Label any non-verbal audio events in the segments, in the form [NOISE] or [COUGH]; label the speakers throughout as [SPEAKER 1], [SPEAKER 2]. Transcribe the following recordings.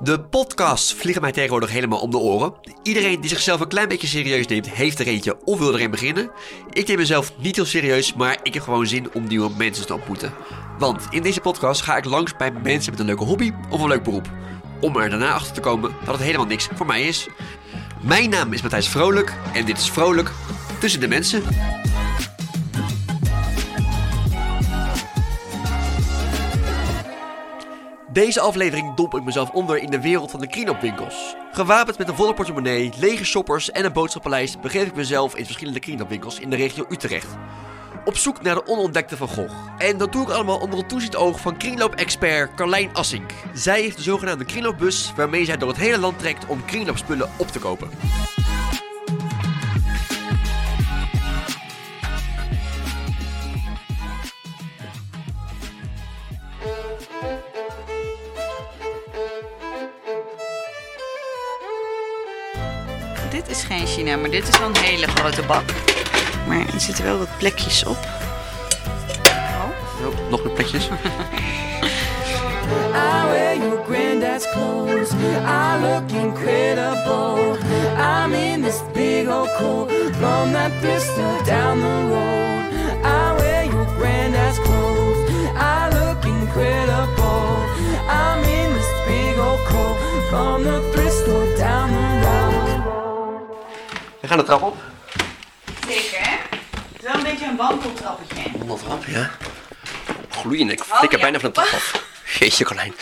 [SPEAKER 1] De podcasts vliegen mij tegenwoordig helemaal om de oren. Iedereen die zichzelf een klein beetje serieus neemt, heeft er eentje of wil erin beginnen. Ik neem mezelf niet heel serieus, maar ik heb gewoon zin om nieuwe mensen te ontmoeten. Want in deze podcast ga ik langs bij mensen met een leuke hobby of een leuk beroep. Om er daarna achter te komen dat het helemaal niks voor mij is. Mijn naam is Matthijs Vrolijk en dit is Vrolijk tussen de mensen. Deze aflevering domp ik mezelf onder in de wereld van de clean-up-winkels. Gewapend met een volle portemonnee, lege shoppers en een boodschappenlijst begeef ik mezelf in verschillende clean-up-winkels in de regio Utrecht. Op zoek naar de onontdekte Van Gogh. En dat doe ik allemaal onder het toezicht oog van kringloop-expert Carlijn Assink. Zij heeft de zogenaamde kringloopbus waarmee zij door het hele land trekt om kringloopspullen op te kopen.
[SPEAKER 2] Dit is geen China, maar dit is wel een hele grote bak. Maar er zitten wel wat plekjes op.
[SPEAKER 1] Oh, nog meer plekjes.
[SPEAKER 3] I wear your granddad's clothes. I look incredible. I'm in this big old coat from that pistol down the road. I wear your granddad's clothes. I look incredible. I'm in this big old coat from the thrift store down the road.
[SPEAKER 1] We gaan de trap op.
[SPEAKER 2] Zeker, hè? Het is wel een beetje een wankeltrappetje. hè?
[SPEAKER 1] Onder de trap, ja. Gloeiend, ik flik
[SPEAKER 2] Oh, ja.
[SPEAKER 1] bijna van de trap af. Jeetje, Carlijn.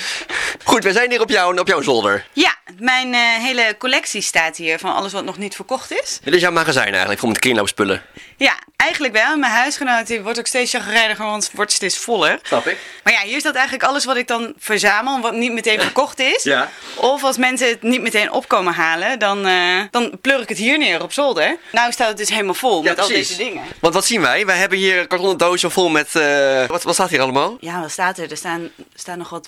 [SPEAKER 1] Goed, we zijn hier op, jou, op jouw zolder.
[SPEAKER 2] Ja, mijn eh, hele collectie staat hier van alles wat nog niet verkocht is.
[SPEAKER 1] Dit is jouw magazijn eigenlijk, voor met kringloopspullen.
[SPEAKER 2] Ja, eigenlijk wel. Mijn huisgenoot die wordt ook steeds chagrijniger, want wordt steeds voller.
[SPEAKER 1] Snap ik.
[SPEAKER 2] Maar ja, hier staat eigenlijk alles wat ik dan verzamel, wat niet meteen verkocht is.
[SPEAKER 1] Ja.
[SPEAKER 2] Of als mensen het niet meteen opkomen halen, dan, eh, dan pleur ik het hier neer op zolder. Nou staat het dus helemaal vol met al deze dingen.
[SPEAKER 1] Want wat zien wij? Wij hebben hier kartonnen dozen vol met... eh, wat, wat staat hier allemaal?
[SPEAKER 2] Ja, wat staat er? Er staan, staan nog wat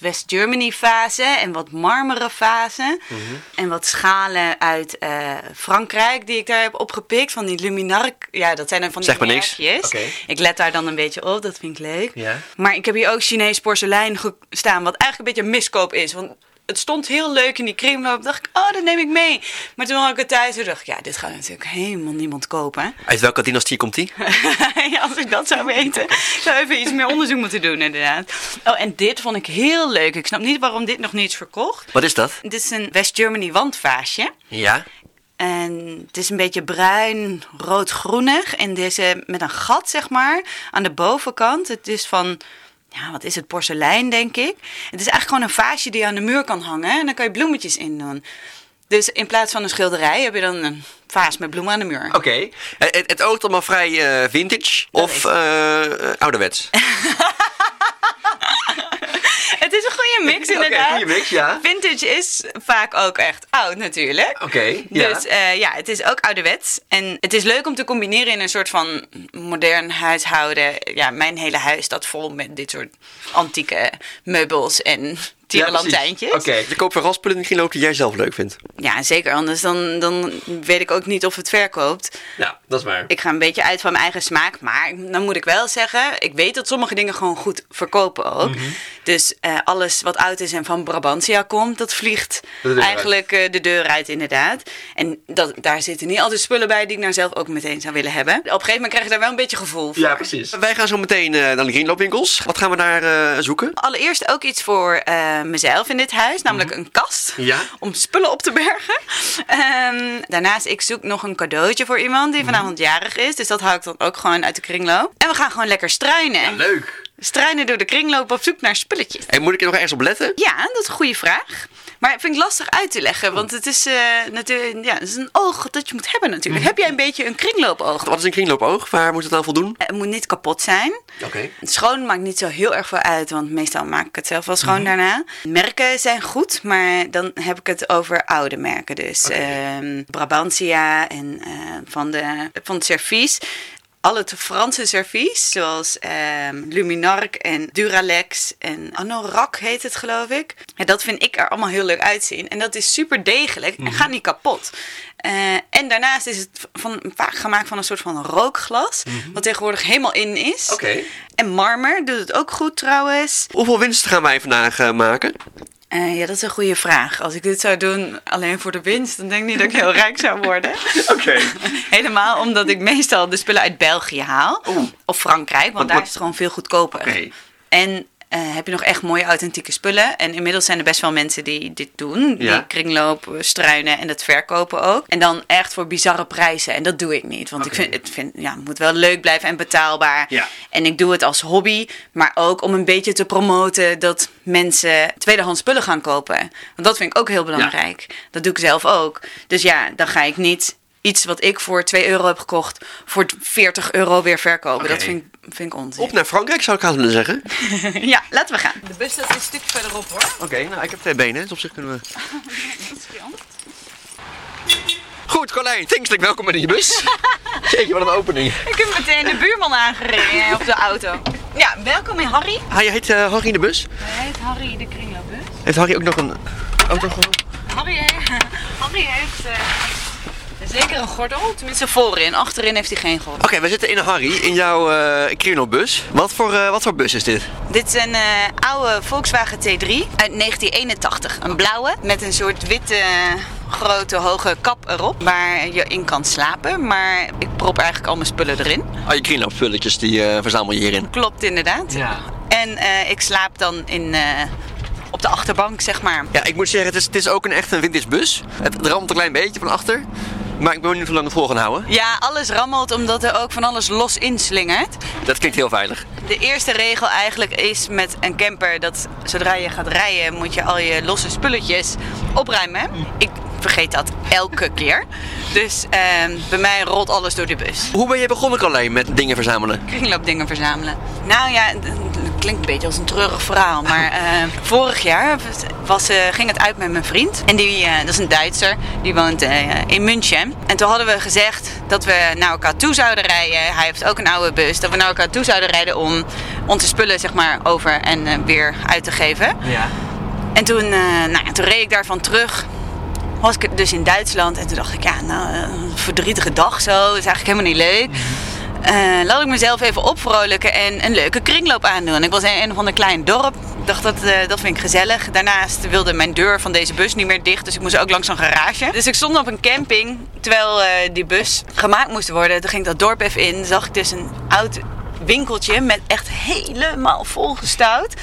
[SPEAKER 2] West-Germany-vazen en wat marmeren vazen.
[SPEAKER 1] Mhm.
[SPEAKER 2] En wat schalen uit eh, Frankrijk die ik daar heb opgepikt. Van die luminark. Ja, dat zijn dan van die
[SPEAKER 1] Zeg maar niks.
[SPEAKER 2] merkjes.
[SPEAKER 1] Oké.
[SPEAKER 2] Ik let daar dan een beetje op, dat vind ik leuk.
[SPEAKER 1] Ja.
[SPEAKER 2] Maar ik heb hier ook Chinees porselein ge- staan, wat eigenlijk een beetje een miskoop is. Want het stond heel leuk in die kringloop. dacht ik, oh, dat neem ik mee. Maar toen had ik het thuis en dacht ik, ja, dit gaat natuurlijk helemaal niemand kopen.
[SPEAKER 1] Uit welke dynastie komt die?
[SPEAKER 2] [LAUGHS] Ja, Als ik dat zou weten, zou ik even iets meer onderzoek moeten doen, inderdaad. Oh, en dit vond ik heel leuk. Ik snap niet waarom dit nog niet is verkocht.
[SPEAKER 1] Wat is dat?
[SPEAKER 2] Dit is een West Germany wandvaasje.
[SPEAKER 1] Ja.
[SPEAKER 2] En het is een beetje bruin, rood-groenig. En deze met een gat, zeg maar, aan de bovenkant. Het is van, ja, wat is het, porselein, denk ik. Het is eigenlijk gewoon een vaasje die je aan de muur kan hangen. En dan kan je bloemetjes in doen. Dus in plaats van een schilderij heb je dan een vaas met bloemen aan de muur.
[SPEAKER 1] Oké. Het, het- het oogt allemaal vrij eh, vintage
[SPEAKER 2] Dat
[SPEAKER 1] of
[SPEAKER 2] is-
[SPEAKER 1] eh, eh,
[SPEAKER 2] [LAUGHS]
[SPEAKER 1] ouderwets?
[SPEAKER 2] Het is een goede mix,
[SPEAKER 1] [LAUGHS] Oké,
[SPEAKER 2] inderdaad.
[SPEAKER 1] goede mix, ja.
[SPEAKER 2] Vintage is vaak ook echt oud, natuurlijk.
[SPEAKER 1] Oké, ja.
[SPEAKER 2] Dus eh, ja, het is ook ouderwets. En het is leuk om te combineren in een soort van modern huishouden. Ja, mijn hele huis staat vol met dit soort antieke meubels en tierenlantijntjes.
[SPEAKER 1] Oké. Je koopt weer raspullen in Dus de kringloop die jij zelf leuk vindt.
[SPEAKER 2] Ja, zeker. Anders dan, dan weet ik ook niet of het verkoopt.
[SPEAKER 1] Nou, dat is waar.
[SPEAKER 2] Ik ga een beetje uit van mijn eigen smaak. Maar dan moet ik wel zeggen, ik weet dat sommige dingen gewoon goed verkopen ook.
[SPEAKER 1] Mhm.
[SPEAKER 2] Dus eh, alles wat oud is en van Brabantia komt, dat vliegt
[SPEAKER 1] De deur uit.
[SPEAKER 2] eigenlijk eh, de deur uit inderdaad. En dat, daar zitten niet altijd spullen bij die ik nou zelf ook meteen zou willen hebben. Op een gegeven moment krijg je daar wel een beetje gevoel voor.
[SPEAKER 1] precies. Wij gaan zo meteen eh, naar de kringloopwinkels. Wat gaan we daar eh, zoeken?
[SPEAKER 2] Allereerst ook iets voor eh, mezelf in dit huis, namelijk een kast
[SPEAKER 1] Mhm. Ja.
[SPEAKER 2] [LAUGHS] om spullen op te bergen. Ehm, daarnaast, ik zoek nog een cadeautje voor iemand
[SPEAKER 1] Mhm.
[SPEAKER 2] die vanavond jarig is. Dus dat hou ik dan ook gewoon uit de kringloop. En we gaan gewoon lekker struinen.
[SPEAKER 1] Leuk.
[SPEAKER 2] Struinen door de kringloop op zoek naar spulletjes.
[SPEAKER 1] En moet ik er nog ergens op letten?
[SPEAKER 2] Ja, dat is een goede vraag. Maar vind ik lastig uit te leggen, want het is, eh, natuurlijk, ja, het is een oog dat je moet hebben natuurlijk.
[SPEAKER 1] Mhm.
[SPEAKER 2] Heb jij een beetje een kringloopoog?
[SPEAKER 1] Wat is een kringloopoog? Waar moet het aan voldoen?
[SPEAKER 2] Het moet niet kapot zijn.
[SPEAKER 1] Oké.
[SPEAKER 2] Schoon maakt niet zo heel erg veel uit, want meestal maak ik het zelf wel schoon daarna. Merken zijn goed, maar dan heb ik het over oude merken. Dus ehm, Brabantia en eh, van, de, van het servies. Al het Franse servies, zoals ehm, Luminarc en Duralex en Anorak heet het geloof ik. Ja, dat vind ik er allemaal heel leuk uitzien. En dat is super degelijk en gaat niet kapot. Eh, en daarnaast is het van, vaak gemaakt van een soort van rookglas, wat tegenwoordig helemaal in is.
[SPEAKER 1] Oké.
[SPEAKER 2] En marmer doet het ook goed trouwens.
[SPEAKER 1] Hoeveel winst gaan wij vandaag eh, maken?
[SPEAKER 2] Eh, ja, dat is een goede vraag. Als ik dit zou doen alleen voor de winst, dan denk ik niet dat ik heel rijk
[SPEAKER 1] [LAUGHS]
[SPEAKER 2] zou worden.
[SPEAKER 1] Oké.
[SPEAKER 2] Helemaal omdat ik meestal de spullen uit België haal.
[SPEAKER 1] Oeh.
[SPEAKER 2] Of Frankrijk, want
[SPEAKER 1] Want
[SPEAKER 2] daar
[SPEAKER 1] wat-
[SPEAKER 2] is het gewoon veel goedkoper.
[SPEAKER 1] Oké.
[SPEAKER 2] En eh, heb je nog echt mooie authentieke spullen. En inmiddels zijn er best wel mensen die dit doen.
[SPEAKER 1] Ja.
[SPEAKER 2] Die kringloop eh, struinen en dat verkopen ook. En dan echt voor bizarre prijzen. En dat doe ik niet. Want
[SPEAKER 1] Oké.
[SPEAKER 2] ik vind, het, vind, ja, het moet wel leuk blijven en betaalbaar.
[SPEAKER 1] Ja.
[SPEAKER 2] En ik doe het als hobby. Maar ook om een beetje te promoten dat mensen tweedehands spullen gaan kopen. Want dat vind ik ook heel belangrijk. Dat doe ik zelf ook. Dus ja, dan ga ik niet iets wat ik voor 2 euro heb gekocht... voor 40 euro weer verkopen.
[SPEAKER 1] Oké.
[SPEAKER 2] Dat vind ik, vind ik onzin.
[SPEAKER 1] Op naar Frankrijk zou ik haast willen zeggen.
[SPEAKER 2] [LAUGHS] Ja, laten we gaan. De bus staat een stuk verderop hoor.
[SPEAKER 1] Oké, nou ik heb twee benen, dus op zich kunnen we... Goed, Carlijn, thankselijk welkom in je bus. [LAUGHS] Jeetje, wat een opening.
[SPEAKER 2] Ik heb meteen de buurman aangereden eh, op de auto. [LAUGHS] Ja, welkom in Harry.
[SPEAKER 1] Hij heet eh, Harry in de bus.
[SPEAKER 2] Hij heet Harry de kringloopbus.
[SPEAKER 1] Heeft Harry ook nog een auto gehoord?
[SPEAKER 2] Harry, he- Harry heeft eh, zeker een gordel. Tenminste voorin. Achterin heeft hij geen gordel.
[SPEAKER 1] Oké, we zitten in een Harry, in jouw eh criminalbus. Wat voor, eh, wat voor bus is dit?
[SPEAKER 2] Dit is een eh, oude Volkswagen T3 uit 1981. Een blauwe met een soort witte grote hoge kap erop. Waar je in kan slapen. Maar ik prop eigenlijk al mijn spullen erin.
[SPEAKER 1] Al je criminalspulletjes, die eh, verzamel je hierin.
[SPEAKER 2] Klopt inderdaad.
[SPEAKER 1] Ja.
[SPEAKER 2] En eh, ik slaap dan in, eh, op de achterbank, zeg maar.
[SPEAKER 1] Ja, ik moet zeggen, het is, het is ook een echt een vintage bus. Het ramt een klein beetje van achter. Maar ik ben niet hoe lang het vol gaan houden.
[SPEAKER 2] Ja, alles rammelt omdat er ook van alles los inslingert.
[SPEAKER 1] Dat klinkt heel veilig.
[SPEAKER 2] De eerste regel eigenlijk is met een camper dat zodra je gaat rijden moet je al je losse spulletjes opruimen. Ik vergeet dat elke keer. Dus ehm, bij mij rolt alles door de bus.
[SPEAKER 1] Hoe ben je begonnen, Carlijn, met dingen verzamelen?
[SPEAKER 2] [LAUGHS] Kringloopdingen verzamelen. Nou ja, d- d- klinkt een beetje als een treurig verhaal. Maar eh, vorig jaar was, eh, ging het uit met mijn vriend. En die, eh, dat is een Duitser. Die woont eh, in München. En toen hadden we gezegd dat we naar elkaar toe zouden rijden. Hij heeft ook een oude bus. Dat we naar elkaar toe zouden rijden om onze spullen zeg maar over en eh, weer uit te geven.
[SPEAKER 1] Ja.
[SPEAKER 2] En toen, eh, nou, ja, toen reed ik daarvan terug. Was ik dus in Duitsland en toen dacht ik, ja, nou, eh, een verdrietige dag zo. is eigenlijk helemaal niet leuk. Eh, laat ik mezelf even opvrolijken en een leuke kringloop aandoen. Ik was in een van een klein dorp. Ik dacht, dat, eh, dat vind ik gezellig. Daarnaast wilde mijn deur van deze bus niet meer dicht. Dus ik moest ook langs een garage. Dus ik stond op een camping terwijl eh, die bus gemaakt moest worden. Toen ging ik dat dorp even in. Zag ik dus een oud winkeltje met echt helemaal volgestouwd.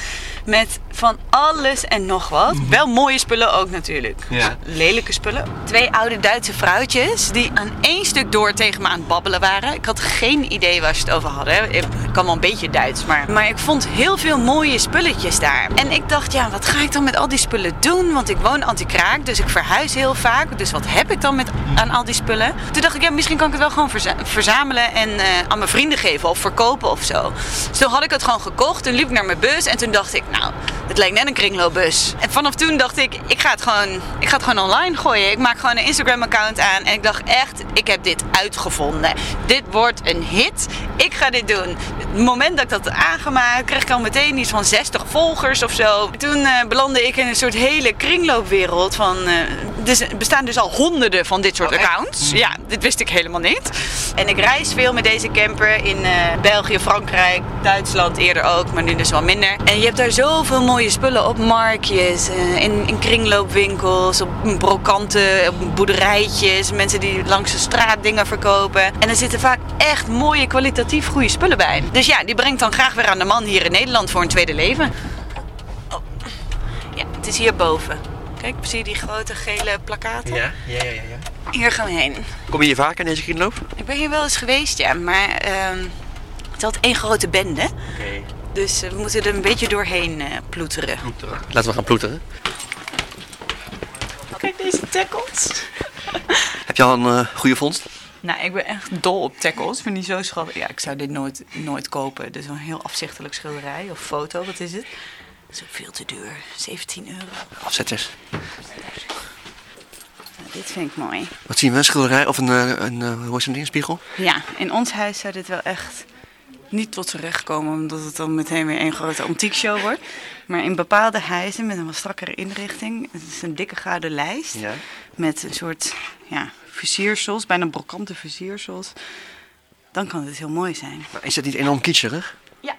[SPEAKER 2] Met van alles en nog wat. Wel mooie spullen ook natuurlijk.
[SPEAKER 1] Ja.
[SPEAKER 2] Lelijke spullen. Twee oude Duitse vrouwtjes die aan één stuk door tegen me aan het babbelen waren. Ik had geen idee waar ze het over hadden. Ik kan wel een beetje Duits, maar... Maar ik vond heel veel mooie spulletjes daar. En ik dacht, ja, wat ga ik dan met al die spullen doen? Want ik woon anti-kraak, dus ik verhuis heel vaak. Dus wat heb ik dan met, aan al die spullen? Toen dacht ik, ja, misschien kan ik het wel gewoon verza- verzamelen en eh, aan mijn vrienden geven of verkopen of zo. Dus toen had ik het gewoon gekocht. Toen liep ik naar mijn bus en toen dacht ik, nou, het lijkt net een kringloopbus. En vanaf toen dacht ik, ik ga het gewoon, ik ga het gewoon online gooien. Ik maak gewoon een Instagram-account aan. En ik dacht echt, ik heb dit uitgevonden. Dit wordt een hit. Ik ga dit doen. Het moment dat ik dat had aangemaakt, kreeg ik al meteen iets van 60 volgers of zo. Toen eh, belandde ik in een soort hele kringloopwereld van... eh, dus er bestaan dus al honderden van dit soort
[SPEAKER 1] echt?
[SPEAKER 2] accounts. Ja, dit wist ik helemaal niet. Oh, Mm. En ik reis veel met deze camper in eh, België, Frankrijk, Duitsland eerder ook, maar nu dus wel minder. En je hebt daar zoveel mooie spullen op marktjes, eh, in, in kringloopwinkels, op brokanten, op boerderijtjes, mensen die langs de straat dingen verkopen. En er zitten vaak echt mooie, kwalitatief goede spullen bij. Dus ja, die brengt dan graag weer aan de man hier in Nederland voor een tweede leven. Oh. Ja, het is hierboven. Kijk, zie je die grote gele plakkaten?
[SPEAKER 1] ja, ja, ja.
[SPEAKER 2] Hier gaan we heen.
[SPEAKER 1] Kom je hier vaak in deze kringloop?
[SPEAKER 2] Ik ben hier wel eens geweest, ja, maar ehm, het had één grote bende.
[SPEAKER 1] Oké.
[SPEAKER 2] Dus eh, we moeten er een beetje doorheen eh, ploeteren.
[SPEAKER 1] Laten we gaan ploeteren.
[SPEAKER 2] Kijk deze tackles.
[SPEAKER 1] Heb je al een eh, goede vondst?
[SPEAKER 2] Nou, ik ben echt dol op tackles. Vind die zo schattig. Ja, ik zou dit nooit, nooit kopen. Dit is een heel afzichtelijk schilderij of foto. Wat is het? Dat is ook veel te duur. 17 euro.
[SPEAKER 1] Afzetters.
[SPEAKER 2] Nou, dit vind ik mooi.
[SPEAKER 1] Wat zien we? Een schilderij of een, eh, een eh, hoe is zo'n ding? Een spiegel?
[SPEAKER 2] Ja, in ons huis zou dit wel echt niet tot z'n recht komen, omdat het dan meteen weer een grote antiekshow wordt. Maar in bepaalde huizen met een wat strakkere inrichting, het is een dikke gouden lijst
[SPEAKER 1] Ja.
[SPEAKER 2] met een soort ja, versiersels, bijna brokante versiersels, dan kan dit heel mooi zijn.
[SPEAKER 1] Maar is dat niet enorm kitscherig?
[SPEAKER 2] Ja.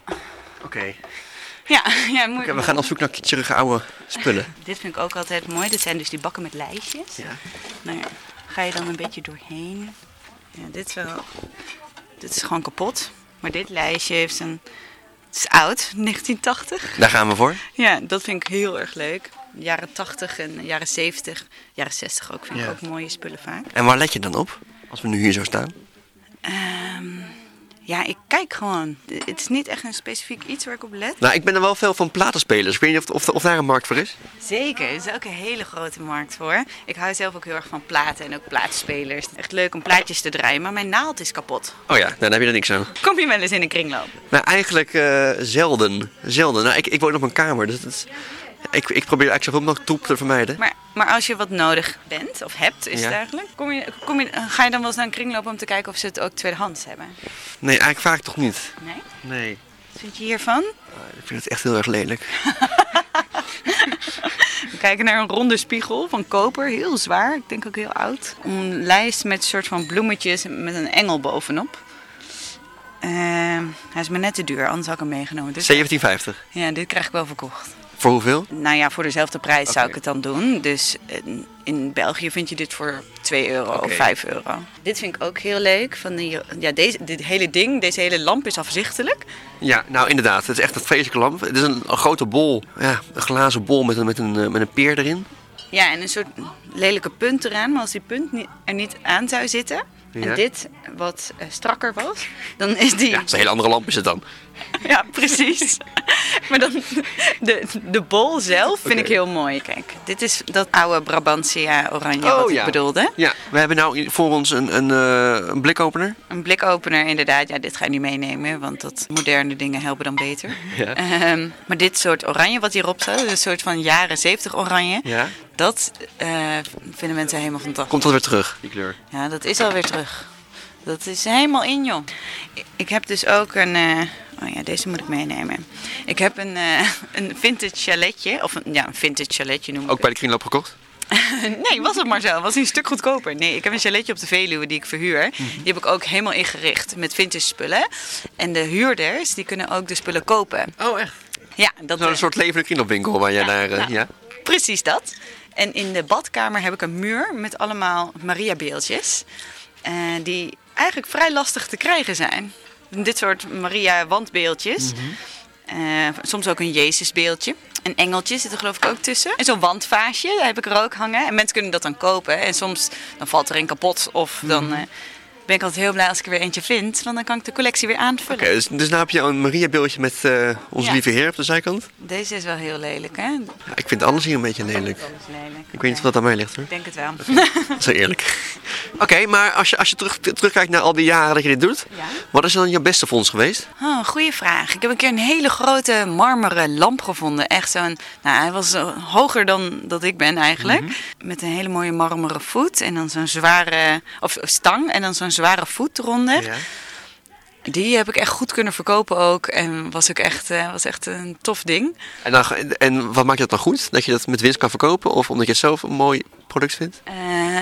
[SPEAKER 1] Oké.
[SPEAKER 2] Ja, ja moeilijk.
[SPEAKER 1] Oké, we gaan op zoek naar kitcherige oude spullen.
[SPEAKER 2] Dit vind ik ook altijd mooi. Dit zijn dus die bakken met lijstjes.
[SPEAKER 1] Ja.
[SPEAKER 2] Nou ja, ga je dan een beetje doorheen. Ja, dit is wel... Dit is gewoon kapot. Maar dit lijstje heeft een... Het is oud, 1980.
[SPEAKER 1] Daar gaan we voor.
[SPEAKER 2] Ja, dat vind ik heel erg leuk. Jaren 80 en jaren 70, jaren 60 ook vind ik
[SPEAKER 1] Ja.
[SPEAKER 2] ook mooie spullen vaak.
[SPEAKER 1] En waar let je dan op? Als we nu hier zo staan.
[SPEAKER 2] Ehm, ja, ik kijk gewoon. Het is niet echt een specifiek iets waar ik op let.
[SPEAKER 1] Nou, ik ben er wel veel van platenspelers. Ik weet niet of, of, of daar een markt voor is.
[SPEAKER 2] Zeker, er is ook een hele grote markt voor. Ik hou zelf ook heel erg van platen en ook plaatspelers. Echt leuk om plaatjes te draaien, maar mijn naald is kapot.
[SPEAKER 1] Oh ja, nou, daar heb je er niks aan.
[SPEAKER 2] Kom je wel eens in een kringloop?
[SPEAKER 1] Nou, eigenlijk eh, zelden. Zelden. Nou, ik, ik woon op een kamer, dus dat is- ik, ik probeer eigenlijk zoveel mogelijk troep te vermijden.
[SPEAKER 2] Maar, maar als je wat nodig bent of hebt, is
[SPEAKER 1] Ja.
[SPEAKER 2] het eigenlijk. Kom je, kom je, ga je dan wel eens naar een kringloop om te kijken of ze het ook tweedehands hebben?
[SPEAKER 1] Nee, eigenlijk vaak toch niet.
[SPEAKER 2] Nee?
[SPEAKER 1] Nee.
[SPEAKER 2] Wat vind je hiervan?
[SPEAKER 1] Ik vind het echt heel erg lelijk.
[SPEAKER 2] We kijken naar een ronde spiegel van koper, heel zwaar, ik denk ook heel oud. Een lijst met soort van bloemetjes en met een engel bovenop. Ehm, hij is me net te duur, anders had ik hem meegenomen. Dit,
[SPEAKER 1] 17,50.
[SPEAKER 2] ja, dit krijg ik wel verkocht.
[SPEAKER 1] Voor hoeveel?
[SPEAKER 2] Nou ja, voor dezelfde prijs zou
[SPEAKER 1] Oké.
[SPEAKER 2] ik het dan doen. Dus eh, in België vind je dit voor 2 euro
[SPEAKER 1] Oké.
[SPEAKER 2] of 5 euro. Dit vind ik ook heel leuk. Van die, ja, deze, dit hele ding, deze hele lamp is afzichtelijk.
[SPEAKER 1] Ja, nou inderdaad. Het is echt een vreselijke lamp. Het is een, een grote bol. Ja, een glazen bol met een, met een, eh, met een peer erin.
[SPEAKER 2] Ja, en een soort lelijke punt eraan. Maar als die punt ni- er niet aan zou zitten...
[SPEAKER 1] Ja.
[SPEAKER 2] en dit wat eh, strakker was, dan is die...
[SPEAKER 1] Ja,
[SPEAKER 2] [LAUGHS] Ja,
[SPEAKER 1] dat is een hele andere lamp is het dan.
[SPEAKER 2] precies. [LAUGHS] maar dan de, de bol zelf vind
[SPEAKER 1] Oké.
[SPEAKER 2] ik heel mooi. Kijk, dit is dat oude Brabantia oranje wat ik bedoelde.
[SPEAKER 1] Oh Ja, we hebben nou voor ons een, een, eh, een blikopener.
[SPEAKER 2] Een blikopener inderdaad. Ja, dit ga je niet meenemen, want dat moderne dingen helpen dan beter.
[SPEAKER 1] Ja.
[SPEAKER 2] Ehm, maar dit soort oranje wat hierop staat, een soort van jaren 70 oranje...
[SPEAKER 1] Ja.
[SPEAKER 2] dat eh, vinden mensen helemaal fantastisch.
[SPEAKER 1] Komt dat weer terug, die kleur?
[SPEAKER 2] Ja, dat is alweer terug. Dat is helemaal in, joh. Ik- Ik heb dus ook een... eh, oh ja, deze moet ik meenemen. Ik heb een, eh, [LAUGHS] een vintage chaletje. Of een, ja, een vintage chaletje noem ik
[SPEAKER 1] Ook bij de kringloop gekocht?
[SPEAKER 2] het. [LAUGHS] Nee, was het maar zo. Was die een stuk goedkoper. Nee, ik heb een chaletje op de Veluwe die ik verhuur. Die heb ik ook helemaal ingericht met vintage spullen. En de huurders, die kunnen ook de spullen kopen.
[SPEAKER 1] Oh, echt?
[SPEAKER 2] Ja, dat
[SPEAKER 1] Nou,
[SPEAKER 2] eh,
[SPEAKER 1] een soort levende kringloopwinkel waar jij naar... eh,
[SPEAKER 2] nou,
[SPEAKER 1] ja.
[SPEAKER 2] Precies dat. En in de badkamer heb ik een muur met allemaal Maria-beeldjes. eh, die eigenlijk vrij lastig te krijgen zijn. Dit soort Maria-wandbeeldjes.
[SPEAKER 1] Mhm.
[SPEAKER 2] Eh, soms ook een Jezusbeeldje. Een engeltje zit er geloof ik ook tussen. En zo'n wandvaasje, daar heb ik er ook hangen. En mensen kunnen dat dan kopen. En soms dan valt er een kapot. Of dan
[SPEAKER 1] Mhm.
[SPEAKER 2] eh, ben ik altijd heel blij als ik er weer eentje vind. Want dan kan ik de collectie weer aanvullen.
[SPEAKER 1] Oké, dus, dus nou heb je een Maria-beeldje met eh, onze
[SPEAKER 2] Ja.
[SPEAKER 1] lieve heer op de zijkant.
[SPEAKER 2] Deze is wel heel lelijk, hè?
[SPEAKER 1] Ja, ik vind alles hier een beetje lelijk.
[SPEAKER 2] Dat is lelijk.
[SPEAKER 1] Ik weet niet of dat aan mij ligt hoor.
[SPEAKER 2] Ik denk het wel.
[SPEAKER 1] Zo eerlijk. Oké, maar als je, als je terug, terugkijkt naar al die jaren dat je dit doet,
[SPEAKER 2] Ja.
[SPEAKER 1] wat is dan jouw beste fonds geweest?
[SPEAKER 2] Oh, goede vraag. Ik heb een keer een hele grote marmeren lamp gevonden. Echt zo'n. Nou, hij was eh, hoger dan dat ik ben eigenlijk. Met een hele mooie marmeren voet. En dan zo'n zware. Of stang. En dan zo'n zware voet eronder. Die heb ik echt goed kunnen verkopen ook. En was ook echt, eh, was echt een tof ding.
[SPEAKER 1] En, dan, ga- en wat maakt dat dan goed? Dat je dat met winst kan verkopen of omdat je het zelf een mooi product vindt?
[SPEAKER 2] Eh,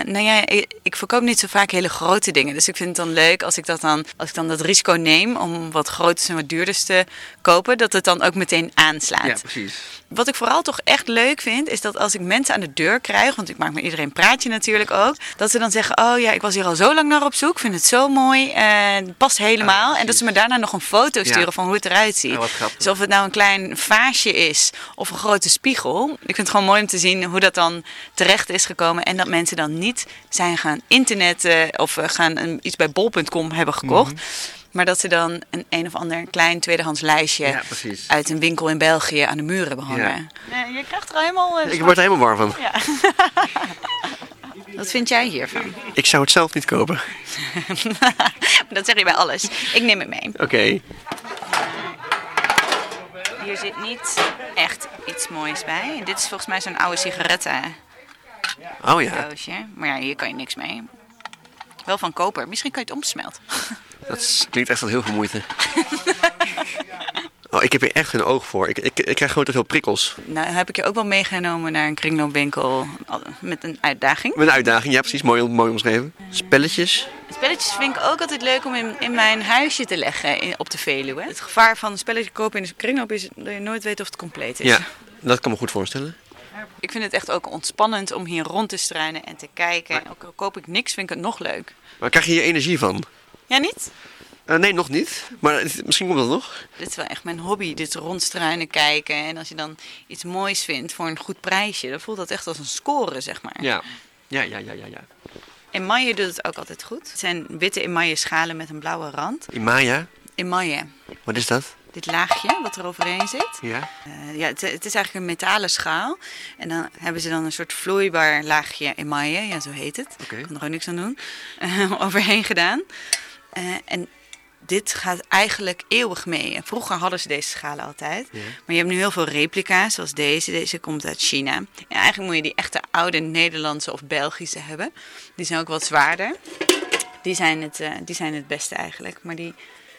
[SPEAKER 2] nou ja, ik, ik verkoop niet zo vaak hele grote dingen. Dus ik vind het dan leuk als ik, dat dan, als ik dan dat risico neem om wat groters en wat duurders te kopen. Dat het dan ook meteen aanslaat.
[SPEAKER 1] precies.
[SPEAKER 2] Wat ik vooral toch echt leuk vind, is dat als ik mensen aan de deur krijg, want ik maak met iedereen een praatje natuurlijk ook, dat ze dan zeggen: Oh ja, ik was hier al zo lang naar op zoek, vind het zo mooi, eh, het past helemaal. en dat
[SPEAKER 1] Ah, precies.
[SPEAKER 2] ze me daarna nog een foto sturen van hoe het eruit ziet.
[SPEAKER 1] Ja, wat grappig.
[SPEAKER 2] dus of het nou een klein vaasje is of een grote spiegel. Ik vind het gewoon mooi om te zien hoe dat dan terecht is gekomen en dat mensen dan niet zijn gaan internetten of eh, gaan een- iets bij bol.com hebben gekocht.
[SPEAKER 1] Mhm.
[SPEAKER 2] Maar dat ze dan een een of ander klein tweedehands lijstje
[SPEAKER 1] Ja, precies.
[SPEAKER 2] uit een winkel in België aan de muren behangen. je krijgt er helemaal... eh,
[SPEAKER 1] Ik word er helemaal warm van.
[SPEAKER 2] Wat vind jij hiervan?
[SPEAKER 1] Ik zou het zelf niet kopen.
[SPEAKER 2] [LAUGHS] dat zeg je bij alles. Ik neem het mee.
[SPEAKER 1] Oké.
[SPEAKER 2] Hier zit niet echt iets moois bij. Dit is volgens mij zo'n oude sigarettendoosje.
[SPEAKER 1] Oh ja,
[SPEAKER 2] Maar ja, hier kan je niks mee. Wel van koper. Misschien kan je het omsmelten.
[SPEAKER 1] dat is- klinkt echt als heel veel [LAUGHS] moeite. Oh, ik heb hier echt geen oog voor. Ik, ik, ik krijg gewoon te veel prikkels.
[SPEAKER 2] Nou, heb ik je ook wel meegenomen naar een kringloopwinkel al- met een uitdaging.
[SPEAKER 1] Met een uitdaging, ja precies, mooi, mooi omschreven. Spelletjes.
[SPEAKER 2] Spelletjes spelletjes vind ik ook altijd leuk om in, in mijn huisje te leggen in- op de Veluwe. Het gevaar van een spelletje kopen in de kringloop is dat je nooit weet of het compleet is.
[SPEAKER 1] Ja, dat kan me goed voorstellen.
[SPEAKER 2] Ik vind het echt ook ontspannend om hier rond te struinen en te kijken. Ook al koop ik niks, vind ik het nog leuk.
[SPEAKER 1] Maar krijg je hier energie van?
[SPEAKER 2] Ja, niet?
[SPEAKER 1] Eh, nee, nog niet. Maar het- misschien komt dat nog.
[SPEAKER 2] Dit is wel echt mijn hobby, dit rondstruinen, kijken. En als je dan iets moois vindt voor een goed prijsje, dan voelt dat echt als een score, zeg maar.
[SPEAKER 1] Ja. Ja, ja, ja, ja. ja.
[SPEAKER 2] Emaille doet het ook altijd goed. Het zijn witte emaille schalen met een blauwe rand.
[SPEAKER 1] Imaya,
[SPEAKER 2] Emaille,
[SPEAKER 1] wat is dat?
[SPEAKER 2] dit laagje wat er overheen zit.
[SPEAKER 1] Ja.
[SPEAKER 2] Eh, ja, het, het is eigenlijk een metalen schaal. En dan hebben ze dan een soort vloeibaar laagje emaille, ja, zo heet het.
[SPEAKER 1] Oké.
[SPEAKER 2] Ik kan er ook niks aan doen. eh, [LAUGHS] overheen gedaan. Eh, en dit gaat eigenlijk eeuwig mee. En Vroeger hadden ze deze schalen altijd. Maar je hebt nu heel veel replica's, zoals deze. Deze komt uit China. En eigenlijk moet je die echte oude Nederlandse of Belgische hebben. Die zijn ook wat zwaarder. Die zijn het, eh, die zijn het beste eigenlijk. Maar die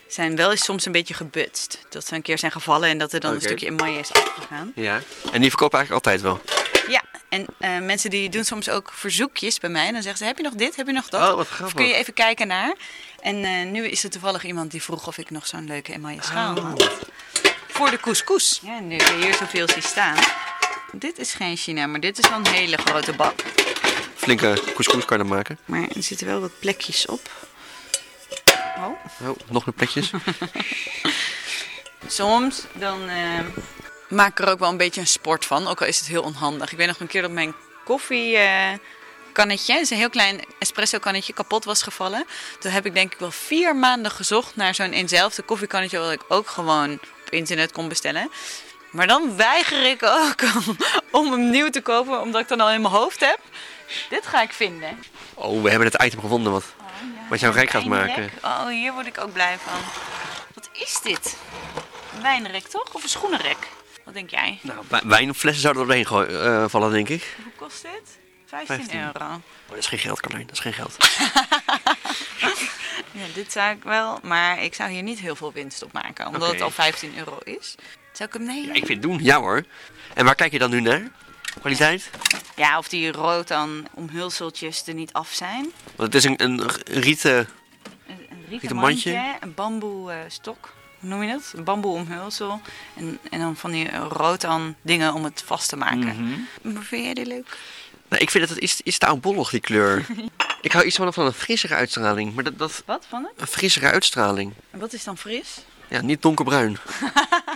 [SPEAKER 2] zijn wel eens soms een beetje gebutst. Dat ze een keer zijn gevallen en dat er dan
[SPEAKER 1] Oké.
[SPEAKER 2] een stukje emaille is afgegaan.
[SPEAKER 1] Ja. En die verkopen eigenlijk altijd wel.
[SPEAKER 2] Ja, en eh, mensen die doen soms ook verzoekjes bij mij. En dan zeggen ze, heb je nog dit, heb je nog dat?
[SPEAKER 1] Oh, wat
[SPEAKER 2] Of
[SPEAKER 1] grappig.
[SPEAKER 2] kun je even kijken naar? En eh, nu is er toevallig iemand die vroeg of ik nog zo'n leuke emaille
[SPEAKER 1] Oh.
[SPEAKER 2] schaal had. Voor de couscous. Ja, nu ik hier zoveel zie staan. Dit is geen China, maar dit is wel een hele grote bak.
[SPEAKER 1] Flinke couscous kan je dan maken.
[SPEAKER 2] Maar er zitten wel wat plekjes op. Oh.
[SPEAKER 1] Oh, nog meer [LAUGHS] plekjes.
[SPEAKER 2] Soms dan eh, maak ik er ook wel een beetje een sport van, ook al is het heel onhandig. Ik weet nog een keer dat mijn koffiekannetje, het is dus een heel klein espresso kannetje, kapot was gevallen. Toen heb ik denk ik wel vier maanden gezocht naar zo'n eenzelfde koffiekannetje wat ik ook gewoon op internet kon bestellen. Maar dan weiger ik ook [LAUGHS] om, om hem nieuw te kopen, omdat ik dan al in mijn hoofd heb. Dit ga ik vinden.
[SPEAKER 1] Oh, we hebben het item gevonden wat, wat jou rijk gaat maken.
[SPEAKER 2] Wijnrek. Oh, hier word ik ook blij van. Wat is dit? Een wijnrek toch? Of een schoenenrek? Wat denk jij?
[SPEAKER 1] Nou, wij- wijnflessen zouden er doorheen gooi- eh, vallen, denk ik.
[SPEAKER 2] Hoe kost dit? 15,
[SPEAKER 1] 15.
[SPEAKER 2] euro.
[SPEAKER 1] Oh, dat is geen geld, Carlijn. Dat is geen geld.
[SPEAKER 2] Ja, dit zou ik wel, maar ik zou hier niet heel veel winst op maken, omdat
[SPEAKER 1] Oké.
[SPEAKER 2] het al 15 euro is. Zou ik hem nemen?
[SPEAKER 1] Ja,
[SPEAKER 2] Ja,
[SPEAKER 1] ik vind het doen. Ja hoor. En waar kijk je dan nu naar? Kwaliteit?
[SPEAKER 2] of die rood dan omhulseltjes er niet af zijn.
[SPEAKER 1] Want het is een, een eh, rieten...
[SPEAKER 2] Een, een
[SPEAKER 1] Rieten
[SPEAKER 2] rieten
[SPEAKER 1] mandje.
[SPEAKER 2] mandje, een bamboe eh, stok. Hoe noem je dat? Een bamboe omhulsel. En, en dan van die rotan dingen om het vast te maken.
[SPEAKER 1] Mhm.
[SPEAKER 2] Maar Vind jij dit leuk?
[SPEAKER 1] Nou, ik vind dat iets, iets te oudbollig, die [LAUGHS] kleur. ik hou iets van, van een frissere uitstraling. Maar dat, dat...
[SPEAKER 2] Wat van het?
[SPEAKER 1] Een frissere uitstraling.
[SPEAKER 2] En wat is dan fris?
[SPEAKER 1] Ja, niet
[SPEAKER 2] [LAUGHS]
[SPEAKER 1] donkerbruin.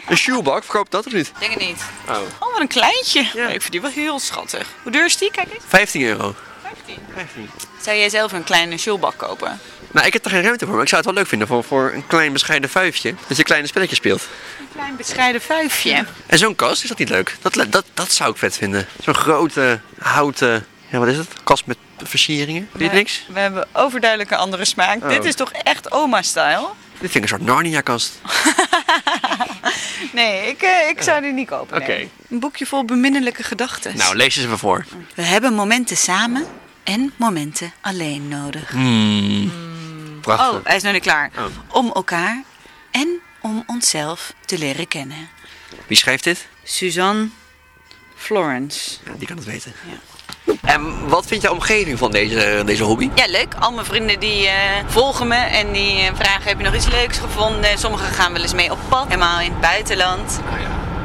[SPEAKER 1] een shoebak, verkoopt dat of niet?
[SPEAKER 2] Denk het niet.
[SPEAKER 1] Oh.
[SPEAKER 2] Oh, wat een kleintje.
[SPEAKER 1] Ja.
[SPEAKER 2] Ik vind die wel heel schattig. Hoe duur is die? Kijk eens.
[SPEAKER 1] 15 euro.
[SPEAKER 2] 15.
[SPEAKER 1] 15.
[SPEAKER 2] Zou jij zelf een kleine sjolbak kopen?
[SPEAKER 1] Nou, ik heb er geen ruimte voor, maar ik zou het wel leuk vinden voor, voor een klein bescheiden vuifje. Dat je kleine spelletjes speelt.
[SPEAKER 2] Een klein bescheiden vuifje.
[SPEAKER 1] En zo'n kast, is dat niet leuk? Dat, dat, dat zou ik vet vinden. Zo'n grote houten, ja wat is het? Kast met versieringen. Dit niks?
[SPEAKER 2] We hebben overduidelijk een andere smaak.
[SPEAKER 1] Oh.
[SPEAKER 2] Dit is toch echt oma-style?
[SPEAKER 1] Dit vind ik een soort Narnia-kast.
[SPEAKER 2] Nee, ik, eh, ik zou die niet kopen. nee.
[SPEAKER 1] Oké.
[SPEAKER 2] Een boekje vol beminnelijke gedachten.
[SPEAKER 1] Nou, lees eens even voor.
[SPEAKER 2] We hebben momenten samen en momenten alleen nodig.
[SPEAKER 1] Hmm. Prachtig.
[SPEAKER 2] Hmm. Oh, hij is nog niet klaar.
[SPEAKER 1] Oh.
[SPEAKER 2] Om elkaar en om onszelf te leren kennen.
[SPEAKER 1] Wie schrijft dit?
[SPEAKER 2] Suzanne Florence.
[SPEAKER 1] Ja, die kan het weten. En wat vindt jouw omgeving van deze, deze hobby?
[SPEAKER 2] Ja, leuk. Al mijn vrienden die eh, volgen me en die eh, vragen: heb je nog iets leuks gevonden? Sommigen gaan wel eens mee op pad, helemaal in het buitenland.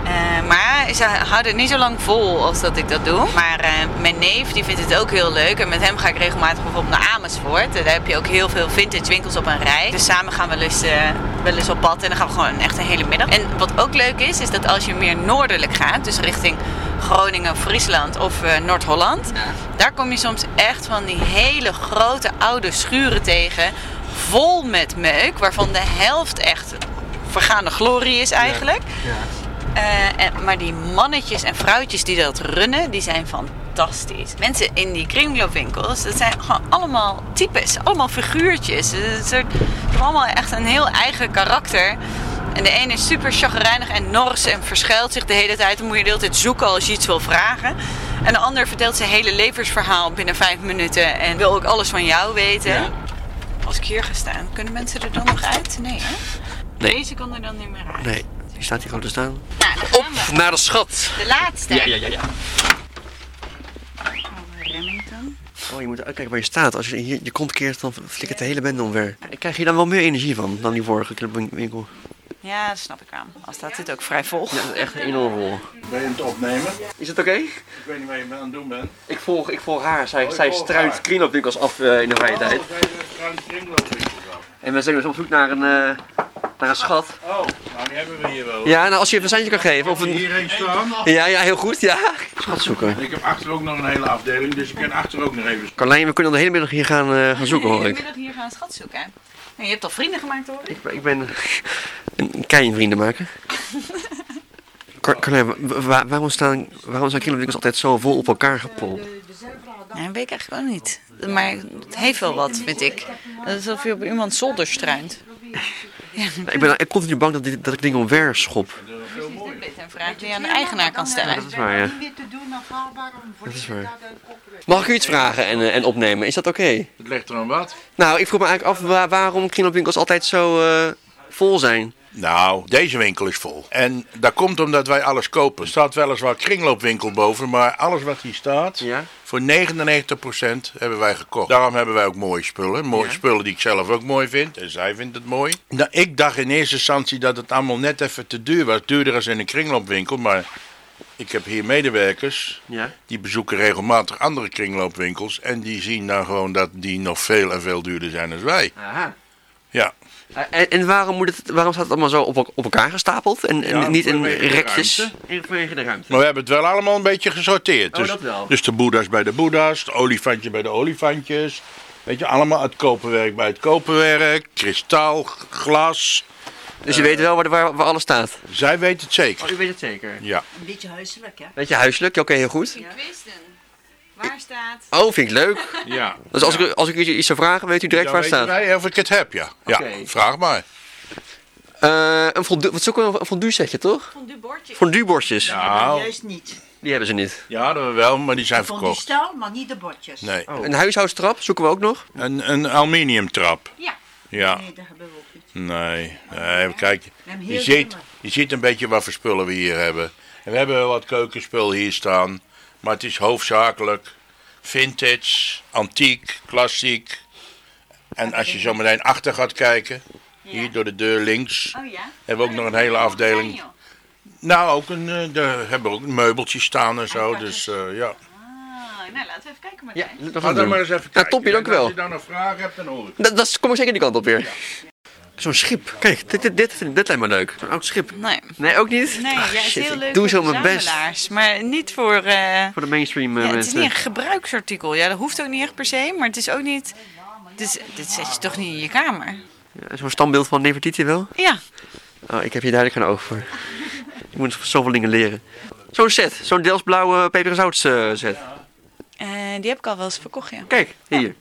[SPEAKER 2] Eh, maar ze houden het niet zo lang vol als dat ik dat doe. Maar eh, mijn neef die vindt het ook heel leuk. En met hem ga ik regelmatig bijvoorbeeld naar Amersfoort. En daar heb je ook heel veel vintage winkels op een rij. Dus samen gaan we wel eens, eh, wel eens op pad. En dan gaan we gewoon echt een hele middag. En wat ook leuk is, is dat als je meer noordelijk gaat. Dus richting Groningen, Friesland of eh, Noord-Holland. Daar kom je soms echt van die hele grote oude schuren tegen. Vol met meuk. Waarvan de helft echt vergaande glorie is eigenlijk. Eh, en- maar die mannetjes en vrouwtjes die dat runnen, die zijn fantastisch. Mensen in die kringloopwinkels, dat zijn gewoon allemaal types, allemaal figuurtjes. Het is een soort, die hebben allemaal echt een heel eigen karakter. En de ene is super chagrijnig en nors en verschuilt zich de hele tijd. Dan moet je de hele tijd zoeken als je iets wil vragen. En de ander vertelt zijn hele levensverhaal binnen vijf minuten en wil ook alles van jou weten.
[SPEAKER 1] Ja.
[SPEAKER 2] Als ik hier ga staan, kunnen mensen er dan nog uit? Nee, hè?
[SPEAKER 1] Nee.
[SPEAKER 2] Deze kan er dan niet meer uit.
[SPEAKER 1] Nee, hier staat hier gewoon te staan.
[SPEAKER 2] Nou, dan gaan we.
[SPEAKER 1] Naar de schat.
[SPEAKER 2] De laatste.
[SPEAKER 1] ja, ja.
[SPEAKER 2] Oh, Remington.
[SPEAKER 1] Oh, je moet uitkijken waar je staat. Als je hier je kont keert, dan flikkert de hele bende omver. Ik krijg hier dan wel meer energie van dan die vorige clubwinkel.
[SPEAKER 2] Ja, dat snap ik aan. Als staat dit ook vrij vol.
[SPEAKER 1] Ja, dat is echt een enorme rol.
[SPEAKER 4] Ben je aan het opnemen?
[SPEAKER 1] Is het oké?
[SPEAKER 4] Ik weet niet waar je mee aan het doen bent.
[SPEAKER 1] Ik volg, ik volg haar. Zij,
[SPEAKER 4] Oh, ik
[SPEAKER 1] zij
[SPEAKER 4] volg
[SPEAKER 1] struint
[SPEAKER 4] haar.
[SPEAKER 1] kringloopwinkels af eh, in de vrije tijd.
[SPEAKER 4] Oh, ben je de Bruine Kringloopwinkel af?
[SPEAKER 1] En we zijn dus op zoek naar een, eh, naar een schat.
[SPEAKER 4] Oh, nou die hebben we hier wel.
[SPEAKER 1] Ja, nou als je even een seintje kan geven. Of
[SPEAKER 4] Heb je
[SPEAKER 1] een...
[SPEAKER 4] hier eens staan?
[SPEAKER 1] Ja, ja, heel goed, ja. Schat zoeken.
[SPEAKER 4] Ik heb achter ook nog een hele afdeling, dus je kan achter ook nog even.
[SPEAKER 1] Carlijn, we kunnen al de hele middag hier gaan, eh, gaan zoeken hoor ik.
[SPEAKER 2] middag hier gaan schat zoeken. hè? Nee, je hebt al vrienden gemaakt hoor.
[SPEAKER 1] Ik, ben- ik ben een keien vrienden maken. Car- Carlijn, wa- wa- waarom staan, waarom zijn kringloopwinkels altijd zo vol op elkaar gepold?
[SPEAKER 2] Nee, dat weet ik eigenlijk ook niet. Maar het heeft wel wat, vind ik. Dat is alsof je op iemand zolder struint.
[SPEAKER 1] Ik ben ik continu bang dat, dit- dat ik dingen omver schop.
[SPEAKER 2] Een vraag die je aan de eigenaar kan
[SPEAKER 1] Dat
[SPEAKER 2] stellen.
[SPEAKER 1] is waar, ja.
[SPEAKER 5] niet meer te doen dan haalbaar om voor
[SPEAKER 1] Dat is waar. Mag ik u iets vragen en, eh, en opnemen? Is dat oké?
[SPEAKER 4] Het ligt er aan wat.
[SPEAKER 1] Nou, ik vroeg me eigenlijk af wa- waarom kringloopwinkels altijd zo eh, vol zijn.
[SPEAKER 4] Nou, deze winkel is vol. En dat komt omdat wij alles kopen. Er staat weliswaar kringloopwinkel boven, maar alles wat hier staat,
[SPEAKER 1] Ja.
[SPEAKER 4] voor 99% hebben wij gekocht. Daarom hebben wij ook mooie spullen. Mooie spullen die ik zelf ook mooi vind. En zij vindt het mooi. Nou, ik dacht in eerste instantie dat het allemaal net even te duur was. Duurder als in een kringloopwinkel, maar ik heb hier medewerkers.
[SPEAKER 1] Ja.
[SPEAKER 4] Die bezoeken regelmatig andere kringloopwinkels. En die zien dan gewoon dat die nog veel en veel duurder zijn dan wij.
[SPEAKER 1] Aha.
[SPEAKER 4] Ja.
[SPEAKER 1] Eh, En, en waarom, moet het, waarom staat het allemaal zo op, el- op elkaar gestapeld en, en
[SPEAKER 4] Ja,
[SPEAKER 1] niet in
[SPEAKER 4] vanwege de
[SPEAKER 1] rekjes?
[SPEAKER 4] ruimte.
[SPEAKER 1] In- Vanwege de ruimte.
[SPEAKER 4] Maar we hebben het wel allemaal een beetje gesorteerd.
[SPEAKER 1] Oh,
[SPEAKER 4] dus,
[SPEAKER 1] dat wel.
[SPEAKER 4] dus de boeddha's bij de boeddha's, de olifantje bij de olifantjes. Weet je, allemaal het koperwerk bij het koperwerk, kristal, g- glas.
[SPEAKER 1] Dus je weet wel waar, waar, waar alles staat.
[SPEAKER 4] Zij weet het zeker.
[SPEAKER 1] u Oh, weet het zeker.
[SPEAKER 4] Ja.
[SPEAKER 5] Een beetje huiselijk, hè?
[SPEAKER 1] Weet je huiselijk? Oké, heel goed.
[SPEAKER 2] Kwisten. Waar staat...
[SPEAKER 1] Oh, vind ik leuk.
[SPEAKER 4] ja.
[SPEAKER 1] Dus als, ik, als ik u iets zou vragen, weet u direct waar het staat.
[SPEAKER 4] wij of ik het heb, ja.
[SPEAKER 1] Oké.
[SPEAKER 4] Ja, vraag maar.
[SPEAKER 1] Eh, een fondue, wat zoeken we? Een fondue setje, toch?
[SPEAKER 2] Van bordje.
[SPEAKER 1] Fondueborstjes.
[SPEAKER 4] Nou,
[SPEAKER 5] Juist niet.
[SPEAKER 1] Die hebben ze niet.
[SPEAKER 4] ja, dat wel, maar die zijn
[SPEAKER 5] Van die
[SPEAKER 4] verkocht.
[SPEAKER 5] staal, maar niet de bordjes.
[SPEAKER 4] Nee.
[SPEAKER 1] Een huishoudstrap zoeken we ook nog.
[SPEAKER 4] Een, een aluminium trap.
[SPEAKER 5] Ja.
[SPEAKER 4] Ja.
[SPEAKER 5] Nee, dat hebben we ook niet.
[SPEAKER 4] Nee, nee kijk,
[SPEAKER 5] hebben
[SPEAKER 4] je
[SPEAKER 5] heel
[SPEAKER 4] ziet,
[SPEAKER 5] veel, maar-
[SPEAKER 4] je ziet een beetje wat voor spullen we hier hebben. En we hebben wel wat keukenspul hier staan, maar het is hoofdzakelijk vintage, antiek, klassiek. En als je zo meteen achter gaat kijken, hier door de deur links,
[SPEAKER 2] Oh ja? Oh,
[SPEAKER 4] hebben we ook nog een hele afdeling. Nou, ook een, eh, daar hebben we ook meubeltjes staan en zo, dus eh, ja.
[SPEAKER 2] nou, laten we even kijken
[SPEAKER 1] Ja, dat
[SPEAKER 4] Ga
[SPEAKER 1] gaan
[SPEAKER 4] dan maar
[SPEAKER 1] we
[SPEAKER 4] eens even kijken.
[SPEAKER 1] Ja, topje, dank u
[SPEAKER 4] En
[SPEAKER 1] wel.
[SPEAKER 4] Als je dan nog vragen hebt, dan hoor ik.
[SPEAKER 1] Dat, dat kom ik zeker die kant op weer. Zo'n schip. Kijk, dit, dit, dit, dit lijkt me leuk. Zo'n oud schip.
[SPEAKER 2] Nee.
[SPEAKER 1] Nee, ook niet?
[SPEAKER 2] Nee,
[SPEAKER 1] Ah,
[SPEAKER 2] jij is
[SPEAKER 1] shit,
[SPEAKER 2] heel
[SPEAKER 1] ik
[SPEAKER 2] leuk
[SPEAKER 1] doe
[SPEAKER 2] voor
[SPEAKER 1] zo mijn best.
[SPEAKER 2] verzamelaars, Maar niet voor... eh,
[SPEAKER 1] Voor de mainstream eh,
[SPEAKER 2] ja, het is
[SPEAKER 1] mensen.
[SPEAKER 2] niet een gebruiksartikel. Ja, dat hoeft ook niet echt per se. Maar het is ook niet... Dus, dit zet je toch niet in je kamer?
[SPEAKER 1] Ja, Zo'n standbeeld van Nefertiti wel?
[SPEAKER 2] Ja.
[SPEAKER 1] Oh, ik heb hier duidelijk geen oog voor. ik moet zoveel dingen leren. Zo'n set. Zo'n Delsblauwe peper en zout eh, set.
[SPEAKER 2] Eh, die heb ik al wel eens verkocht, ja.
[SPEAKER 1] Kijk, hier.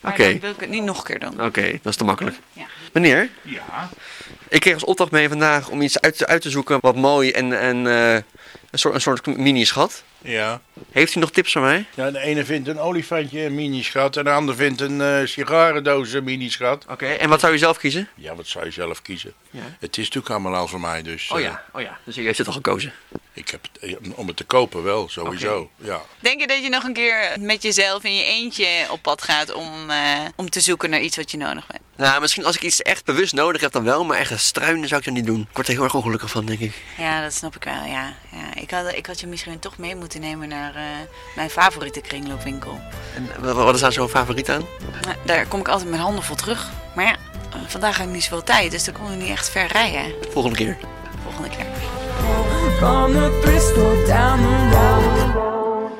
[SPEAKER 1] Oké,
[SPEAKER 2] Maar dan wil ik het niet nog een keer doen.
[SPEAKER 1] oké. Dat is te makkelijk.
[SPEAKER 2] Ja.
[SPEAKER 1] Meneer,
[SPEAKER 4] Ja,
[SPEAKER 1] ik kreeg als opdracht mee vandaag om iets uit, uit te zoeken wat mooi en, en eh, een soort, een soort mini-schat.
[SPEAKER 4] ja.
[SPEAKER 1] Heeft u nog tips voor mij?
[SPEAKER 4] Ja, de ene vindt een olifantje, een minischat. En de ander vindt een eh sigarendoos, een minischat.
[SPEAKER 1] Oké, en wat zou u zelf kiezen?
[SPEAKER 4] Ja, wat zou je zelf kiezen?
[SPEAKER 1] Ja.
[SPEAKER 4] Het is natuurlijk allemaal al voor mij, dus... eh,
[SPEAKER 1] oh ja. Dus u heeft het al gekozen.
[SPEAKER 4] ik heb het, eh, om het te kopen wel, sowieso. Ja.
[SPEAKER 2] Denk je dat je nog een keer met jezelf in je eentje op pad gaat om, eh, om te zoeken naar iets wat je nodig bent?
[SPEAKER 1] Nou, misschien als ik iets echt bewust nodig heb dan wel, maar echt struinen zou ik dat niet doen. Ik word er heel erg ongelukkig van, denk ik.
[SPEAKER 2] Ja, dat snap ik wel, ja. ja ik, had, ik had je misschien toch mee moeten nemen naar eh, mijn favoriete kringloopwinkel.
[SPEAKER 1] En wa- wat is daar zo'n favoriet aan?
[SPEAKER 2] Maar daar kom ik altijd met handen vol terug. Maar ja, eh, vandaag heb ik niet zoveel tijd, dus dan kon ik niet echt ver rijden
[SPEAKER 1] Volgende keer.
[SPEAKER 2] de volgende keer.
[SPEAKER 3] From the thrift store down the road.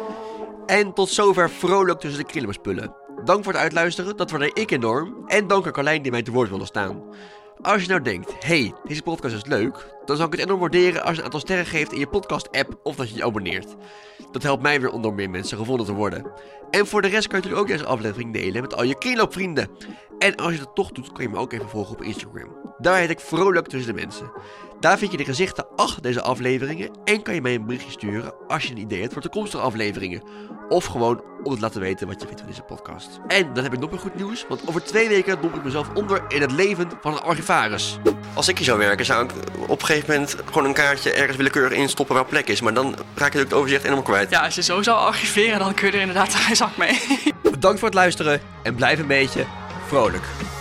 [SPEAKER 1] En tot zover vrolijk tussen de krillenspullen. Dank voor het uitluisteren, dat waardeer ik enorm. En dank aan Carlijn die mij te woord wilde staan. Als je nou denkt, hey, deze podcast is leuk, dan zou ik het enorm waarderen als je een aantal sterren geeft in je podcast-app of dat je je abonneert. Dat helpt mij weer om door meer mensen gevonden te worden. En voor de rest kan je natuurlijk ook deze aflevering delen met al je kringloopvrienden. En als je dat toch doet, kan je me ook even volgen op Instagram. Daar heet ik Vrolijk Tussen de Mensen. Daar vind je de gezichten achter deze afleveringen en kan je mij een berichtje sturen als je een idee hebt voor toekomstige afleveringen. Of gewoon om het te laten weten wat je vindt van deze podcast. En dan heb ik nog meer goed nieuws, want over twee weken domp ik mezelf onder in het leven van een archivaris. Als ik hier zou werken, zou ik op een gegeven moment gewoon een kaartje ergens willekeurig instoppen waar plek is. Maar dan raak je natuurlijk het overzicht helemaal kwijt.
[SPEAKER 6] Ja, als je zo zou archiveren, dan kun je er inderdaad een zak mee.
[SPEAKER 1] Bedankt voor het luisteren en blijf een beetje vrolijk.